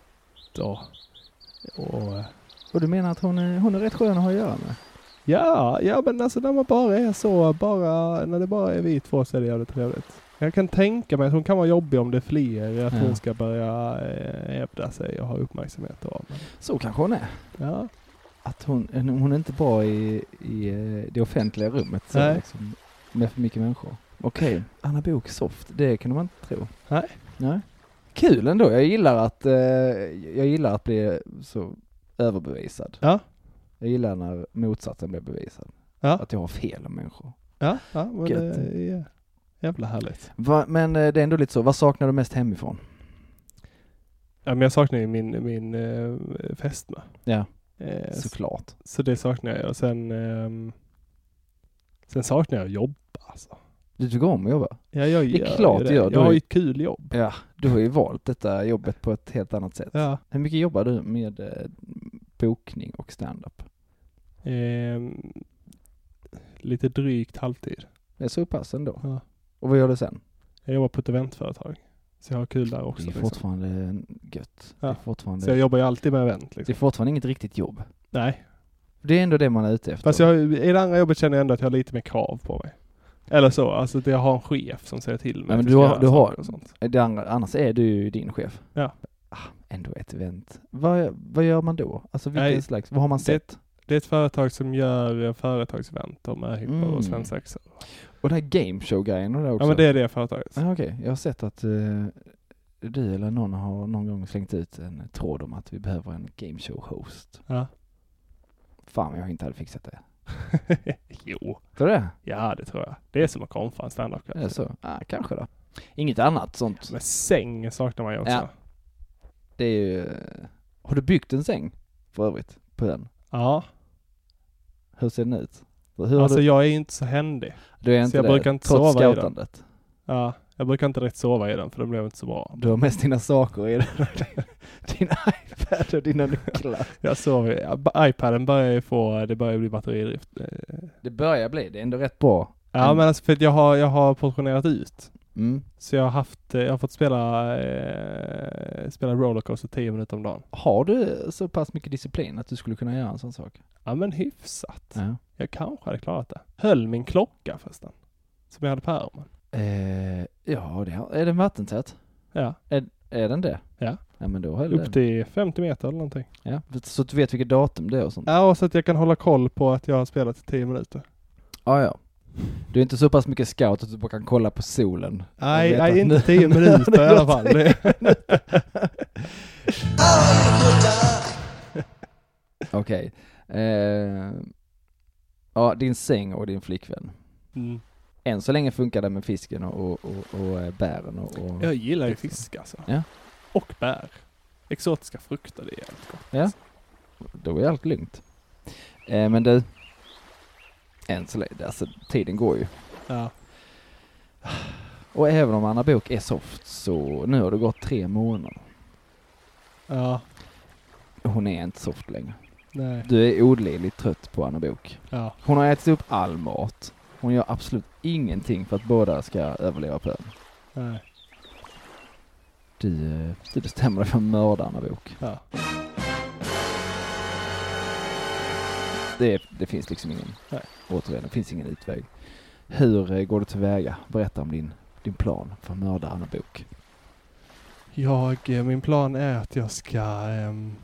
[SPEAKER 8] och, och eh,
[SPEAKER 7] Och du menar att hon är, hon är rätt skön att ha att göra med?
[SPEAKER 8] ja, ja men alltså när man bara är så, bara, när det bara är vi två så är det jävligt trevligt. Jag kan tänka mig att hon kan vara jobbig om det är fler, att
[SPEAKER 7] Ja.
[SPEAKER 8] hon ska börja eh, hävda sig och ha uppmärksamhet av. Men,
[SPEAKER 7] Så kanske hon är.
[SPEAKER 8] ja.
[SPEAKER 7] Att hon, hon är inte bra i, i eh, det offentliga rummet. Så
[SPEAKER 8] Nej.
[SPEAKER 7] liksom, med för mycket människor. Okej, Anna Bok soft. Det kunde man inte tro.
[SPEAKER 8] Nej.
[SPEAKER 7] Nej. Kul ändå. Jag gillar att, eh, jag gillar att bli så överbevisad.
[SPEAKER 8] Ja.
[SPEAKER 7] Jag gillar när motsatsen blir bevisad.
[SPEAKER 8] Ja.
[SPEAKER 7] Att jag har fel om människor.
[SPEAKER 8] Ja, ja men
[SPEAKER 7] Gött.
[SPEAKER 8] det är jävla härligt.
[SPEAKER 7] Va, men eh, det är ändå lite så, vad saknar du mest hemifrån?
[SPEAKER 8] Ja, men jag saknar ju min, min eh, fästmö.
[SPEAKER 7] Ja,
[SPEAKER 8] Eh,
[SPEAKER 7] såklart.
[SPEAKER 8] Så det saknar jag. Och sen... ehm, Sen saknar jag att jobba alltså.
[SPEAKER 7] Du tycker om att jobba?
[SPEAKER 8] Ja, jag
[SPEAKER 7] Det är
[SPEAKER 8] gör
[SPEAKER 7] klart
[SPEAKER 8] ju
[SPEAKER 7] du
[SPEAKER 8] det.
[SPEAKER 7] gör. Du
[SPEAKER 8] Jag har
[SPEAKER 7] är-
[SPEAKER 8] ju ett kul jobb.
[SPEAKER 7] Ja, du har ju valt detta jobbet på ett helt annat sätt.
[SPEAKER 8] Ja.
[SPEAKER 7] Hur mycket jobbar du med eh, bokning och stand-up?
[SPEAKER 8] Ehm, lite drygt halvtid.
[SPEAKER 7] Det är så pass ändå.
[SPEAKER 8] Ja.
[SPEAKER 7] Och vad gör du sen?
[SPEAKER 8] Jag jobbar på ett eventföretag. Så jag har kul där också.
[SPEAKER 7] det är
[SPEAKER 8] liksom.
[SPEAKER 7] fortfarande gött. Det, är
[SPEAKER 8] Ja.
[SPEAKER 7] fortfarande,
[SPEAKER 8] Så jag jobbar ju alltid med event.
[SPEAKER 7] det är
[SPEAKER 8] Liksom.
[SPEAKER 7] fortfarande inget riktigt jobb.
[SPEAKER 8] Nej.
[SPEAKER 7] Det är ändå det man är ute efter.
[SPEAKER 8] Fast jag, i det andra jobbet känner jag ändå att jag har lite mer krav på mig. Eller så, alltså att jag har en chef som säger till mig.
[SPEAKER 7] Nej, men
[SPEAKER 8] att jag
[SPEAKER 7] du
[SPEAKER 8] ska
[SPEAKER 7] har,
[SPEAKER 8] göra
[SPEAKER 7] du har
[SPEAKER 8] saker och sånt.
[SPEAKER 7] det andra, annars är du ju din chef.
[SPEAKER 8] Ja.
[SPEAKER 7] Ah, ändå ett event. Vad, vad gör man då? Alltså vilken
[SPEAKER 8] Nej,
[SPEAKER 7] slags, vad har man
[SPEAKER 8] det-
[SPEAKER 7] sett?
[SPEAKER 8] Det är ett företag som gör eh, företagsevent. De är hippor
[SPEAKER 7] Mm.
[SPEAKER 8] och svensexor.
[SPEAKER 7] Och den här gameshow-grejen och det också?
[SPEAKER 8] Ja men det är det företaget.
[SPEAKER 7] Ja, okej. Jag har sett att eh, du eller någon har någon gång slängt ut en tråd om att vi behöver en gameshow-host.
[SPEAKER 8] Ja. *laughs*
[SPEAKER 7] Fan, jag inte hade fixat det.
[SPEAKER 8] jo,
[SPEAKER 7] Tror du det?
[SPEAKER 8] ja det tror jag. Det är som att komma för en standupkväll.
[SPEAKER 7] Är det så? Ja, kanske då. Inget annat sånt.
[SPEAKER 8] Men säng saknar man ju också.
[SPEAKER 7] Ja.
[SPEAKER 8] Ja.
[SPEAKER 7] Det är ju... eh, Har du byggt en säng för övrigt? På den? Hur ser den ut? Hur har
[SPEAKER 8] Alltså
[SPEAKER 7] du...
[SPEAKER 8] jag är ju inte så händig.
[SPEAKER 7] du är
[SPEAKER 8] så
[SPEAKER 7] alltså, inte
[SPEAKER 8] jag
[SPEAKER 7] det,
[SPEAKER 8] brukar inte
[SPEAKER 7] trots
[SPEAKER 8] sova i den.
[SPEAKER 7] scoutandet.
[SPEAKER 8] Ja, jag brukar inte direkt sova i den för det blev inte så bra.
[SPEAKER 7] Du har mest dina saker i *laughs* den. Din iPad och dina nycklar.
[SPEAKER 8] Jag sover i, ja, iPaden börjar ju få, det börjar bli batteridrift. Eh,
[SPEAKER 7] Det börjar bli, det är ändå rätt bra.
[SPEAKER 8] Ja
[SPEAKER 7] Mm.
[SPEAKER 8] men alltså för att jag har, jag har portionerat ut.
[SPEAKER 7] Mm.
[SPEAKER 8] Så jag har haft, eh, jag har fått spela, eh, spela rollercoaster 10 minuter om dagen.
[SPEAKER 7] Har du så pass mycket disciplin att du skulle kunna göra en sån sak?
[SPEAKER 8] Ja men hyfsat.
[SPEAKER 7] Ja.
[SPEAKER 8] Jag kanske hade klarat det. Höll min klocka förresten. Som jag hade på armen.
[SPEAKER 7] Eh, ja, det har, är den vattentät?
[SPEAKER 8] Ja,
[SPEAKER 7] Är den det?
[SPEAKER 8] Ja.
[SPEAKER 7] Ja men då höll
[SPEAKER 8] upp
[SPEAKER 7] den.
[SPEAKER 8] till 50 meter eller någonting.
[SPEAKER 7] Ja. Så att du vet vilket datum det är och sånt?
[SPEAKER 8] Ja, och så att jag kan hålla koll på att jag har spelat i 10 minuter.
[SPEAKER 7] Ja, ja. Du är inte så pass mycket scout att du bara kan kolla på solen?
[SPEAKER 8] Nej,
[SPEAKER 7] Jag vet
[SPEAKER 8] nej inte
[SPEAKER 7] att nu-
[SPEAKER 8] *laughs* 10 minuter i
[SPEAKER 7] nu-
[SPEAKER 8] alla fall. Det,
[SPEAKER 7] *laughs* Okej. Eh, ja, din säng och din flickvän.
[SPEAKER 8] mm.
[SPEAKER 7] Än så länge funkar det med fisken och, och, och, och eh, bären och... och
[SPEAKER 8] Jag gillar ju fisk alltså.
[SPEAKER 7] Ja.
[SPEAKER 8] Och bär. Exotiska frukter, det är jävligt gott.
[SPEAKER 7] Ja. Då är allt lugnt. Eh, men du. Än så länge, alltså tiden går ju.
[SPEAKER 8] Ja.
[SPEAKER 7] Och även om Anna Bok är soft så nu har det gått tre månader.
[SPEAKER 8] ja.
[SPEAKER 7] Hon är inte soft längre.
[SPEAKER 8] Nej.
[SPEAKER 7] Du är odledligt trött på Anna Bok.
[SPEAKER 8] Ja.
[SPEAKER 7] Hon har ätit upp all mat. Hon gör absolut ingenting för att båda ska överleva på ön.
[SPEAKER 8] Nej.
[SPEAKER 7] Du, eh, du bestämmer dig för att mörda Anna Bok.
[SPEAKER 8] Ja.
[SPEAKER 7] Det, det finns liksom ingen,
[SPEAKER 8] Nej.
[SPEAKER 7] återigen, det finns ingen utväg. Hur eh, går du tillväga? Berätta om din, din plan för att mörda Anna Bok.
[SPEAKER 8] Jag, eh, min plan är att jag ska... ehm,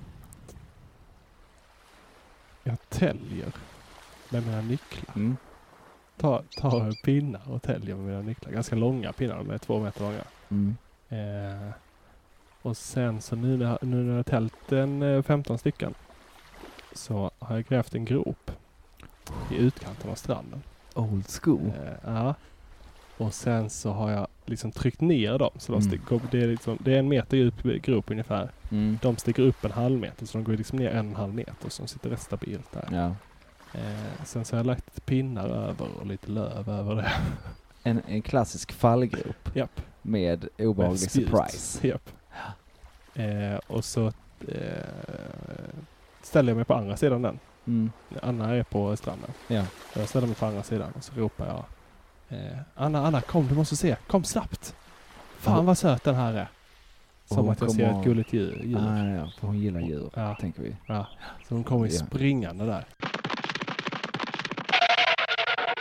[SPEAKER 8] jag täljer med mina nycklar.
[SPEAKER 7] Mm.
[SPEAKER 8] Tar, tar pinnar och täljer med mina nycklar. Ganska långa pinnar, de är två meter långa.
[SPEAKER 7] Mm.
[SPEAKER 8] Eh, och sen så nu när, nu när jag har tält en eh, 15 stycken så har jag grävt en grop i utkanten av stranden.
[SPEAKER 7] Old school.
[SPEAKER 8] Eh, ja. Och sen så har jag liksom tryckt ner dem. Så de
[SPEAKER 7] Mm.
[SPEAKER 8] sticker, upp- det, är liksom, det är en meter djup grop ungefär.
[SPEAKER 7] Mm.
[SPEAKER 8] De sticker upp en halv meter så de går liksom ner en och en halv meter så de sitter rätt stabilt där.
[SPEAKER 7] Ja.
[SPEAKER 8] Eh, sen så har jag lagt pinnar över och lite löv över det. *laughs*
[SPEAKER 7] En, en klassisk fallgrop
[SPEAKER 8] Japp.
[SPEAKER 7] med obehaglig
[SPEAKER 8] Med spjut. *laughs*
[SPEAKER 7] surprise.
[SPEAKER 8] Japp. Eh, och så eh, ställer jag mig på andra sidan den.
[SPEAKER 7] Mm.
[SPEAKER 8] Anna är på stranden.
[SPEAKER 7] Ja.
[SPEAKER 8] Jag ställer mig på andra sidan och så ropar jag. Eh, Anna, Anna, kom du måste se. Kom snabbt.
[SPEAKER 7] Och-
[SPEAKER 8] Fan vad söt den här är.
[SPEAKER 7] och
[SPEAKER 8] Som
[SPEAKER 7] hon
[SPEAKER 8] att jag
[SPEAKER 7] kommer
[SPEAKER 8] ser
[SPEAKER 7] och-
[SPEAKER 8] ett gulligt djur. djur.
[SPEAKER 7] Ah, ja, ja, för hon gillar djur,
[SPEAKER 8] Ja.
[SPEAKER 7] tänker vi.
[SPEAKER 8] Så hon kommer ju
[SPEAKER 7] Ja.
[SPEAKER 8] springande där.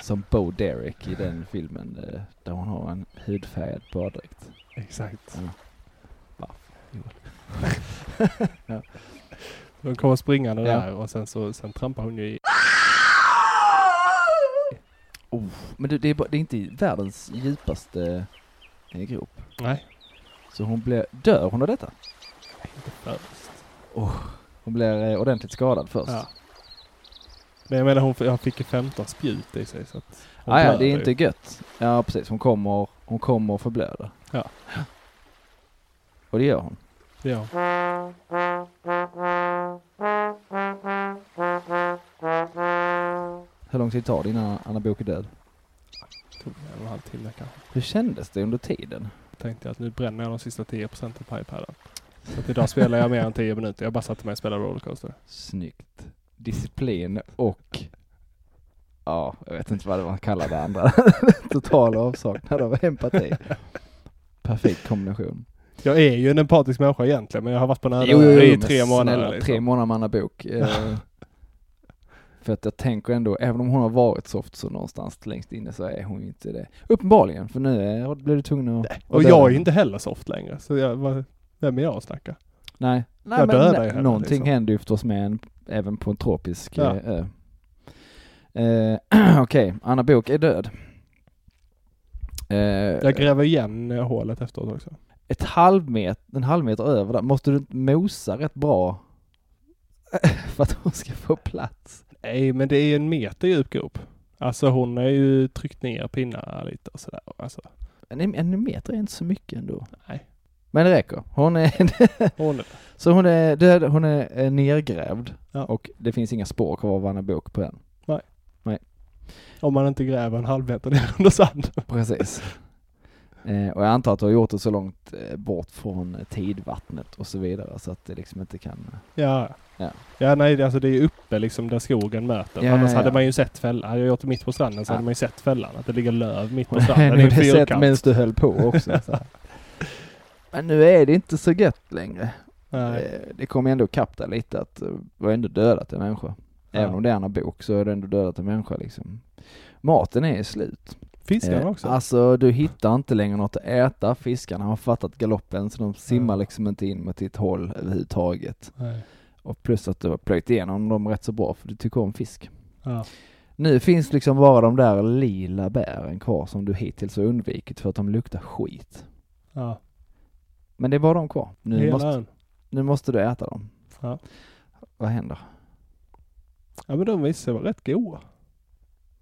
[SPEAKER 7] Som Bo Derek i den filmen eh, där hon har en hudfärgad baddräkt.
[SPEAKER 8] Exakt.
[SPEAKER 7] Ja.
[SPEAKER 8] *laughs* Hon kommer springande
[SPEAKER 7] Ja.
[SPEAKER 8] där och sen så sen trampar hon ju i.
[SPEAKER 7] Oh, men du, det, är, bara- det är inte världens djupaste eh, grop.
[SPEAKER 8] Nej.
[SPEAKER 7] Så hon blir, dör hon av detta?
[SPEAKER 8] Inte först.
[SPEAKER 7] Hon blir eh, ordentligt skadad först.
[SPEAKER 8] Ja. Men jag menar hon, jag fick ju 15 spjut i sig så att hon
[SPEAKER 7] Ah, ja,
[SPEAKER 8] blöder
[SPEAKER 7] det är
[SPEAKER 8] ju.
[SPEAKER 7] inte gött. Ja, precis. Hon kommer, hon kommer och förblöder.
[SPEAKER 8] Ja.
[SPEAKER 7] Och det gör hon.
[SPEAKER 8] Ja.
[SPEAKER 7] Hur lång tid tar det innan Anna Bok är död?
[SPEAKER 8] Tog en och en halv timme kanske.
[SPEAKER 7] Hur kändes det under tiden?
[SPEAKER 8] Tänkte jag att nu bränner jag de sista 10 procenten på iPaden. Så att idag spelar jag mer än 10 minuter. Jag bara satte mig och spelade Rollercoaster.
[SPEAKER 7] Snyggt. Disciplin och ja, jag vet inte vad det var man kallar det andra. *laughs* Total avsaknad av empati. Perfekt kombination.
[SPEAKER 8] Jag är ju en empatisk människa egentligen, men jag har varit på nära
[SPEAKER 7] Jo, jo, jo,
[SPEAKER 8] i
[SPEAKER 7] men
[SPEAKER 8] tre månader.
[SPEAKER 7] Snälla,
[SPEAKER 8] liksom.
[SPEAKER 7] tre månader med Anna *laughs* Bok. Eh, för att jag tänker ändå, även om hon har varit soft så någonstans längst inne så är hon ju inte det. Uppenbarligen, för nu är, blir du tvungen att... att
[SPEAKER 8] Och
[SPEAKER 7] döda
[SPEAKER 8] jag är
[SPEAKER 7] henne.
[SPEAKER 8] ju inte heller soft längre, så jag, vad, vem är jag att snacka?
[SPEAKER 7] Nej. Nej
[SPEAKER 8] jag
[SPEAKER 7] men
[SPEAKER 8] dödar
[SPEAKER 7] nä-
[SPEAKER 8] ju henne.
[SPEAKER 7] någonting
[SPEAKER 8] liksom.
[SPEAKER 7] händer ju förstås med en, även på en tropisk
[SPEAKER 8] Ja.
[SPEAKER 7] eh, ö. Eh, *clears throat* Okej, Anna Bok är död. Eh,
[SPEAKER 8] Jag gräver igen eh, hålet efteråt också.
[SPEAKER 7] ett halvmeter, en halvmeter över där, måste du mosa rätt bra *laughs* för att hon ska få plats?
[SPEAKER 8] Nej, men det är ju en meter djup grop. Alltså hon har ju tryckt ner pinnar lite och sådär. Alltså,
[SPEAKER 7] En, en meter är inte så mycket ändå.
[SPEAKER 8] Nej.
[SPEAKER 7] Men det räcker. Hon är... *laughs*
[SPEAKER 8] hon är...
[SPEAKER 7] Så hon är död, hon är eh, nergrävd
[SPEAKER 8] Ja.
[SPEAKER 7] och det finns inga spår kvar av Anna Bok på henne.
[SPEAKER 8] om man inte gräver en halv meter ner under sand.
[SPEAKER 7] Precis. Eh, och jag antar att du har gjort det så långt eh, bort från eh, tidvattnet och så vidare så att det liksom inte kan...
[SPEAKER 8] Ja.
[SPEAKER 7] Ja.
[SPEAKER 8] Ja, nej, det- alltså det är ju uppe liksom där skogen möter.
[SPEAKER 7] Ja,
[SPEAKER 8] Annars
[SPEAKER 7] ja,
[SPEAKER 8] hade
[SPEAKER 7] ja.
[SPEAKER 8] man ju sett fällan. Hade jag gjort det mitt på stranden så
[SPEAKER 7] Ja.
[SPEAKER 8] hade man ju sett fällan. Att det ligger löv
[SPEAKER 7] *laughs*
[SPEAKER 8] mitt på
[SPEAKER 7] Och det
[SPEAKER 8] stranden.
[SPEAKER 7] är
[SPEAKER 8] i en
[SPEAKER 7] nog det sätt
[SPEAKER 8] fyrkant.
[SPEAKER 7] medan du höll på också. Så. här. Men nu är det inte så gött längre.
[SPEAKER 8] Nej.
[SPEAKER 7] Eh, Det kommer ändå kapp där lite att eh, du har ändå dödat en människa. Även
[SPEAKER 8] Ja.
[SPEAKER 7] om det är en bok så har du ändå dödat en människa liksom. Maten är slut.
[SPEAKER 8] Fiskarna
[SPEAKER 7] Eh,
[SPEAKER 8] också.
[SPEAKER 7] Alltså du hittar inte längre något att äta. Fiskarna har fattat galoppen så de simmar liksom inte in mot ditt håll överhuvudtaget.
[SPEAKER 8] Nej.
[SPEAKER 7] Och plus att du har plöjt igenom dem rätt så bra för du tycker om fisk.
[SPEAKER 8] Ja.
[SPEAKER 7] Nu finns liksom bara de där lila bären kvar som du hittills har undvikit för att de luktar skit.
[SPEAKER 8] Ja.
[SPEAKER 7] Men det är bara de kvar. Nu,
[SPEAKER 8] Hela
[SPEAKER 7] måste,
[SPEAKER 8] ön.
[SPEAKER 7] nu måste du äta dem.
[SPEAKER 8] Ja.
[SPEAKER 7] Vad händer?
[SPEAKER 8] ja, men de visste var rätt goda.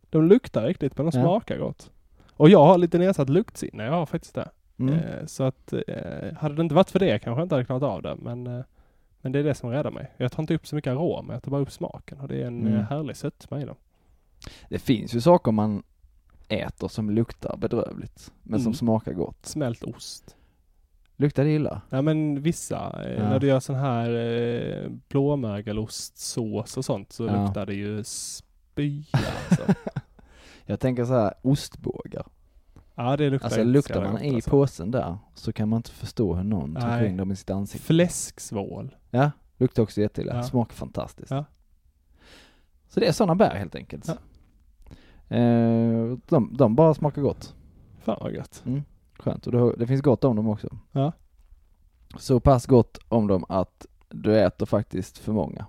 [SPEAKER 8] De luktar riktigt men de
[SPEAKER 7] Ja.
[SPEAKER 8] smakar gott. Och jag har lite nedsatt luktsinne. Jag har faktiskt det.
[SPEAKER 7] Mm.
[SPEAKER 8] Eh, så att eh, hade det inte varit för det kanske jag inte hade klarat av det. Men, eh, men det är det som räddar mig. Jag tar inte upp så mycket arom. Jag tar bara upp smaken. Och det är en
[SPEAKER 7] Mm.
[SPEAKER 8] eh, härlig sötma i dem.
[SPEAKER 7] Det finns ju saker man äter som luktar bedrövligt, men som
[SPEAKER 8] Mm.
[SPEAKER 7] smakar gott.
[SPEAKER 8] Smält ost.
[SPEAKER 7] Luktar det illa?
[SPEAKER 8] Ja men vissa, eh,
[SPEAKER 7] Ja.
[SPEAKER 8] när du gör sån här eh, blåmögelostsås och sånt så
[SPEAKER 7] Ja.
[SPEAKER 8] luktar det ju spya
[SPEAKER 7] *laughs*
[SPEAKER 8] alltså.
[SPEAKER 7] Jag tänker så här, ostbågar.
[SPEAKER 8] Ja det luktar
[SPEAKER 7] Alltså
[SPEAKER 8] inte så
[SPEAKER 7] luktar
[SPEAKER 8] jävla
[SPEAKER 7] man
[SPEAKER 8] gott,
[SPEAKER 7] i
[SPEAKER 8] alltså.
[SPEAKER 7] påsen där så kan man inte förstå hur någon
[SPEAKER 8] Nej.
[SPEAKER 7] trycker in dem i sitt ansikte.
[SPEAKER 8] Fläsksvål.
[SPEAKER 7] Ja, luktar också jätteilla.
[SPEAKER 8] Ja.
[SPEAKER 7] Smakar fantastiskt.
[SPEAKER 8] Ja.
[SPEAKER 7] Så det är sådana bär helt enkelt.
[SPEAKER 8] Ja.
[SPEAKER 7] Eh, de, de bara smakar gott.
[SPEAKER 8] Fan vad gött.
[SPEAKER 7] Skönt. Och det, det finns gott om dem också.
[SPEAKER 8] Ja.
[SPEAKER 7] Så pass gott om dem att du äter faktiskt för många.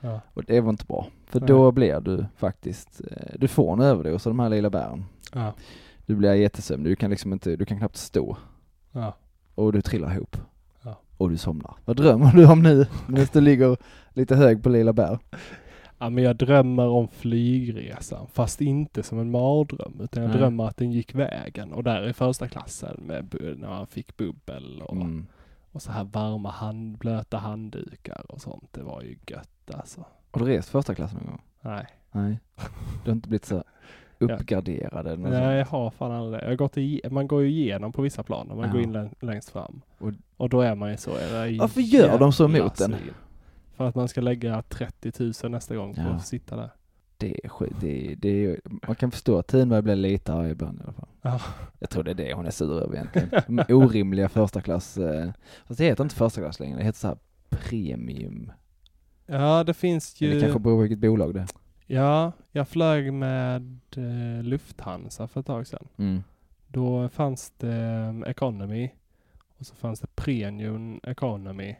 [SPEAKER 8] Ja.
[SPEAKER 7] Och det var inte bra. För
[SPEAKER 8] Nej.
[SPEAKER 7] då blir du faktiskt, eh, du får en överdos av de här lilla bären.
[SPEAKER 8] Ja.
[SPEAKER 7] Du blir jättesömnig, du kan liksom inte, du kan knappt stå.
[SPEAKER 8] Ja.
[SPEAKER 7] Och du trillar ihop.
[SPEAKER 8] Ja.
[SPEAKER 7] Och du somnar. Vad drömmer du om nu? *laughs* Medan du ligger lite hög på lila bär.
[SPEAKER 8] ja men jag drömmer om flygresan fast inte som en mardröm utan jag
[SPEAKER 7] Nej.
[SPEAKER 8] drömmer att den gick vägen och där i första klassen med bu- när man fick bubbel och,
[SPEAKER 7] Mm.
[SPEAKER 8] och så här varma hand, blöta handdukar och sånt. Det var ju gött alltså.
[SPEAKER 7] Har du rest första klass någon gång?
[SPEAKER 8] Nej.
[SPEAKER 7] Nej. Du har inte
[SPEAKER 8] *laughs*
[SPEAKER 7] blivit så uppgraderad eller något
[SPEAKER 8] Nej, jag
[SPEAKER 7] sånt.
[SPEAKER 8] har fan aldrig det. Jag har gått i, man går ju igenom på vissa plan när man
[SPEAKER 7] Ja.
[SPEAKER 8] går in län- längst fram.
[SPEAKER 7] Och-
[SPEAKER 8] Och, då är man ju så. eller
[SPEAKER 7] Varför gör de så
[SPEAKER 8] jävla
[SPEAKER 7] mot en?
[SPEAKER 8] svin. För att man ska lägga 30 000 nästa gång på
[SPEAKER 7] Ja.
[SPEAKER 8] att sitta där.
[SPEAKER 7] Det är skit, det är, det är, man kan förstå att Thunberg blir lite arg ibland i alla fall.
[SPEAKER 8] Ja.
[SPEAKER 7] Jag tror det är det hon är sur över egentligen. De orimliga första klass, eh, fast det heter inte första klass längre, det heter så här premium.
[SPEAKER 8] Ja, det finns
[SPEAKER 7] Men
[SPEAKER 8] ju...
[SPEAKER 7] Det kanske beror på vilket bolag det är.
[SPEAKER 8] Ja, jag flög med eh, Lufthansa för ett tag sedan.
[SPEAKER 7] Mm.
[SPEAKER 8] Då fanns det eh, Economy och så fanns det Premium Economy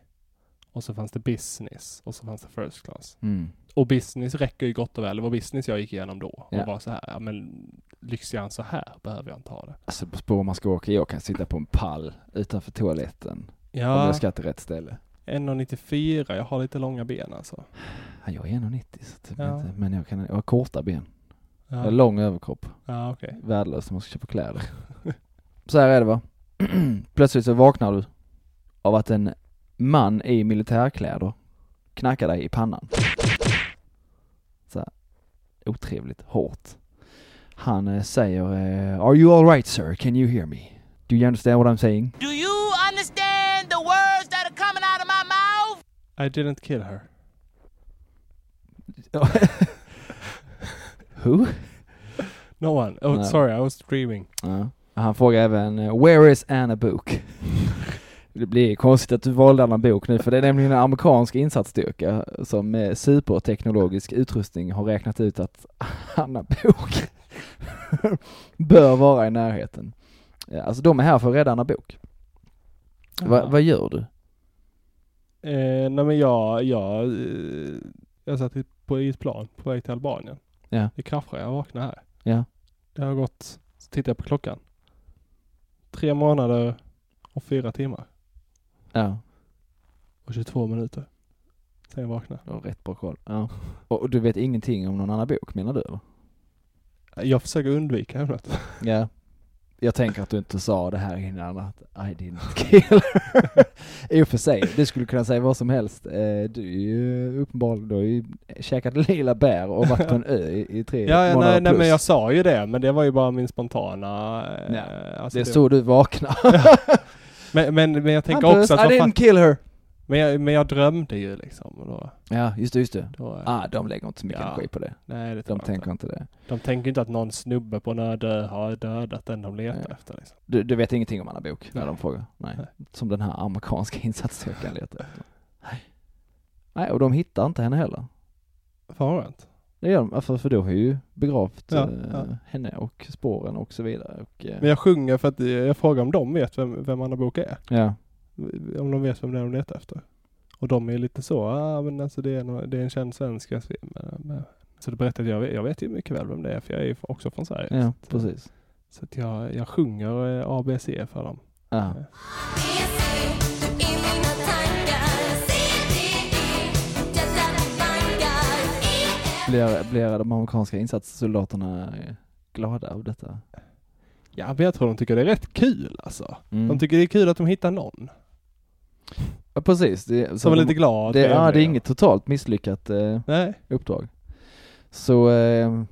[SPEAKER 8] och så fanns det Business och så fanns det First Class.
[SPEAKER 7] Mm.
[SPEAKER 8] Och business räcker ju gott och väl. Det var business jag gick igenom då.
[SPEAKER 7] Ja.
[SPEAKER 8] Och var så här, ja men lyxigare än så här behöver jag inte ha det.
[SPEAKER 7] Alltså på spår man ska åka, jag kan sitta på en pall utanför toaletten om
[SPEAKER 8] Ja,
[SPEAKER 7] jag ska till rätt ställe.
[SPEAKER 8] 1,94. Jag har lite långa ben alltså.
[SPEAKER 7] Ja, Jag är 1,90 så typ
[SPEAKER 8] Ja.
[SPEAKER 7] inte, men jag, kan, jag har korta ben. Jag
[SPEAKER 8] Ja,
[SPEAKER 7] har lång överkropp.
[SPEAKER 8] ja okej.
[SPEAKER 7] värdelös när man ska köpa kläder. Så här är det va. *clears throat* Plötsligt så vaknar du av att en man i militärkläder knackar dig i pannan. Så här. otrevligt hårt. Han eh, säger eh, Are you alright sir? Can you hear me? Do you understand what I'm saying?
[SPEAKER 10] Do you understand the words that are coming out of my mouth?
[SPEAKER 8] I didn't kill her.
[SPEAKER 7] *laughs* Who?
[SPEAKER 8] No one. Oh,
[SPEAKER 7] Nej.
[SPEAKER 8] sorry, I was dreaming.
[SPEAKER 7] Ja. Han frågar även eh, Where is Anna *laughs* Book? Det blir konstigt att du valde Anna Book nu för det är nämligen en amerikansk insatsstyrka som med superteknologisk utrustning har räknat ut att *laughs* Anna Book *laughs* bör vara i närheten. Ja, Alltså de är här för att rädda Anna Book. Va,
[SPEAKER 8] Jaha.
[SPEAKER 7] vad gör du?
[SPEAKER 8] Eh, nej men jag, jag, eh, jag satt i- på, i ett plan på väg till Albanien.
[SPEAKER 7] Ja.
[SPEAKER 8] Det kraschade, jag vaknade här.
[SPEAKER 7] Ja.
[SPEAKER 8] Det har gått, så tittar jag på klockan. Tre månader och fyra timmar
[SPEAKER 7] Ja,
[SPEAKER 8] och 22 minuter. Sen jag vaknade.
[SPEAKER 7] du har rätt bra koll. Ja. Och, och du vet ingenting om någon Anna Book menar du eller?
[SPEAKER 8] Jag försöker undvika ämnet.
[SPEAKER 7] Ja. Jag tänker att du inte sa det här innan att I didn't *laughs* kill her. *laughs* I och för sig, du skulle kunna säga vad som helst. Eh, Du är ju uppenbarligen, du har ju käkat lila bär och varit på en ö i, i tre
[SPEAKER 8] *laughs* Ja, ja
[SPEAKER 7] månader
[SPEAKER 8] nej, nej
[SPEAKER 7] plus.
[SPEAKER 8] men jag sa ju det, men det var ju bara min spontana... eh, alltså
[SPEAKER 7] det
[SPEAKER 8] *laughs*
[SPEAKER 7] är så du vaknar.
[SPEAKER 8] men, men, men jag tänker
[SPEAKER 7] Hampus,
[SPEAKER 8] också att...
[SPEAKER 7] I
[SPEAKER 8] vad
[SPEAKER 7] didn't kill her.
[SPEAKER 8] Men jag, men jag drömde ju liksom. Och då,
[SPEAKER 7] Ja, just det, just det.
[SPEAKER 8] då, eh,
[SPEAKER 7] Ah, de lägger inte så mycket
[SPEAKER 8] Ja.
[SPEAKER 7] energi på det.
[SPEAKER 8] Nej, det tror
[SPEAKER 7] De
[SPEAKER 8] jag inte.
[SPEAKER 7] tänker inte det.
[SPEAKER 8] De tänker inte att någon snubbe på en öde har dödat den de letar
[SPEAKER 7] Nej.
[SPEAKER 8] efter. Liksom.
[SPEAKER 7] Du, du vet ingenting om Anna Book när
[SPEAKER 8] Nej.
[SPEAKER 7] de frågar? Nej.
[SPEAKER 8] Nej.
[SPEAKER 7] Som den här amerikanska *laughs* insatsstyrkan letar efter. Nej. Nej, och de hittar inte henne heller.
[SPEAKER 8] Fan vad skönt.
[SPEAKER 7] Det gör de, alltså, för, för då har ju begravt
[SPEAKER 8] Ja,
[SPEAKER 7] eh,
[SPEAKER 8] ja.
[SPEAKER 7] henne och spåren och så vidare. Och, eh,
[SPEAKER 8] Men jag sjunger för att eh, jag frågar om de vet vem, vem Anna Book är.
[SPEAKER 7] ja,
[SPEAKER 8] Om de vet vem det är de letar efter. Och de är lite så, ah, men alltså det, är no, det är en känd svensk. jag ser- men- men- Så då berättade jag, jag vet- jag vet ju mycket väl vem det är för jag är ju också från Sverige.
[SPEAKER 7] ja, precis.
[SPEAKER 8] Så att jag, jag sjunger eh, ABC för dem.
[SPEAKER 7] Ja. Blir, blir de amerikanska insatssoldaterna eh, glada av detta?
[SPEAKER 8] Ja, men jag tror de tycker det är rätt kul alltså.
[SPEAKER 7] Mm.
[SPEAKER 8] De tycker det är kul att de hittar någon
[SPEAKER 7] ja, precis. Det, så
[SPEAKER 8] som är
[SPEAKER 7] de-
[SPEAKER 8] lite glad.
[SPEAKER 7] Det, ja, det är
[SPEAKER 8] trevlig.
[SPEAKER 7] inget totalt misslyckat eh,
[SPEAKER 8] Nej.
[SPEAKER 7] uppdrag. Så eh,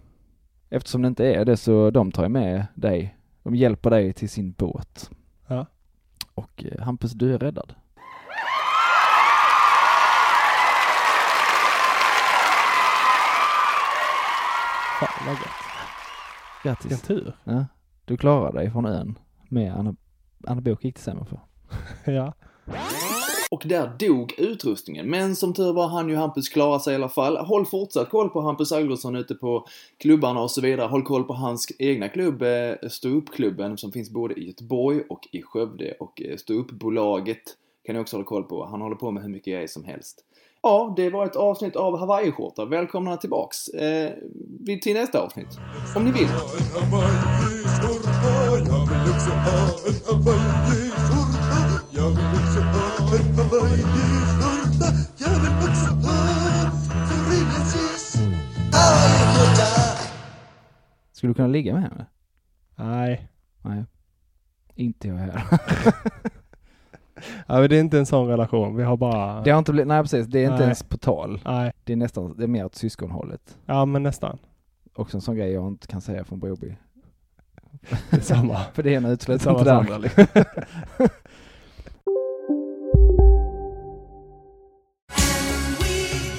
[SPEAKER 7] eftersom det inte är det så de tar ju med dig. De hjälper dig till sin båt.
[SPEAKER 8] Ja.
[SPEAKER 7] Och eh, Hampus, du är räddad.
[SPEAKER 8] Fan vad gött.
[SPEAKER 7] Grattis.
[SPEAKER 8] Vilken tur. *laughs*
[SPEAKER 7] Ja, du klarar dig från ön med Anna, Anna Book gick det sämre för.
[SPEAKER 8] Ja.
[SPEAKER 11] Och där dog utrustningen. Men som tur var han ju Hampus klara sig i alla fall. Håll fortsatt koll på Hampus Algotsson ute på klubbarna och så vidare. Håll koll på hans egna klubb, eh, Ståuppklubben, som finns både i Göteborg och i Skövde. Och eh, Ståuppbolaget kan ni också hålla koll på. Han håller på med hur mycket grejer som helst. Ja, det var ett avsnitt av Hawaii-skjorta. Välkomna tillbaks eh, vi- till nästa avsnitt. Om ni vill.
[SPEAKER 7] Skulle du kunna ligga med henne?
[SPEAKER 8] Nej.
[SPEAKER 7] Nej. Inte jag heller.
[SPEAKER 8] Ja, men det är inte en sån relation. Vi har bara...
[SPEAKER 7] *laughs* Det har inte blivit, nej precis, det är inte
[SPEAKER 8] Nej.
[SPEAKER 7] ens på tal.
[SPEAKER 8] Nej.
[SPEAKER 7] Det är nästan, det är mer åt syskonhållet.
[SPEAKER 8] Ja, men nästan.
[SPEAKER 7] Också en sån grej jag inte kan säga från Broby.
[SPEAKER 8] Det är
[SPEAKER 7] *laughs*
[SPEAKER 8] samma.
[SPEAKER 7] För det ena utesluter
[SPEAKER 8] Samma
[SPEAKER 7] inte det
[SPEAKER 8] som
[SPEAKER 7] andra
[SPEAKER 8] andra,
[SPEAKER 7] liksom.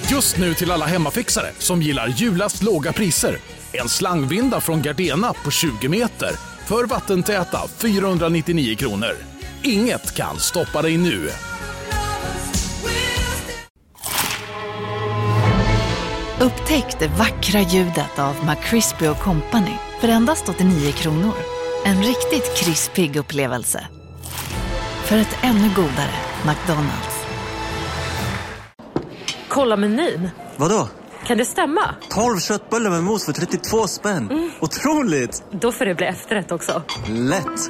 [SPEAKER 5] Just nu till alla hemmafixare som gillar Julas låga priser. En slangvinda från Gardena på 20 meter för vattentäta 499 kronor. Inget kan stoppa dig nu.
[SPEAKER 12] Upptäck det vackra ljudet av McCrispy Company för endast 89 kronor. En riktigt krispig upplevelse. För ett ännu godare McDonalds.
[SPEAKER 13] Kolla menyn.
[SPEAKER 14] Vadå?
[SPEAKER 13] Kan det stämma?
[SPEAKER 14] 12 köttbullar med mos för 32 spänn. Otroligt!
[SPEAKER 13] Då får det bli efterrätt också.
[SPEAKER 14] Lätt!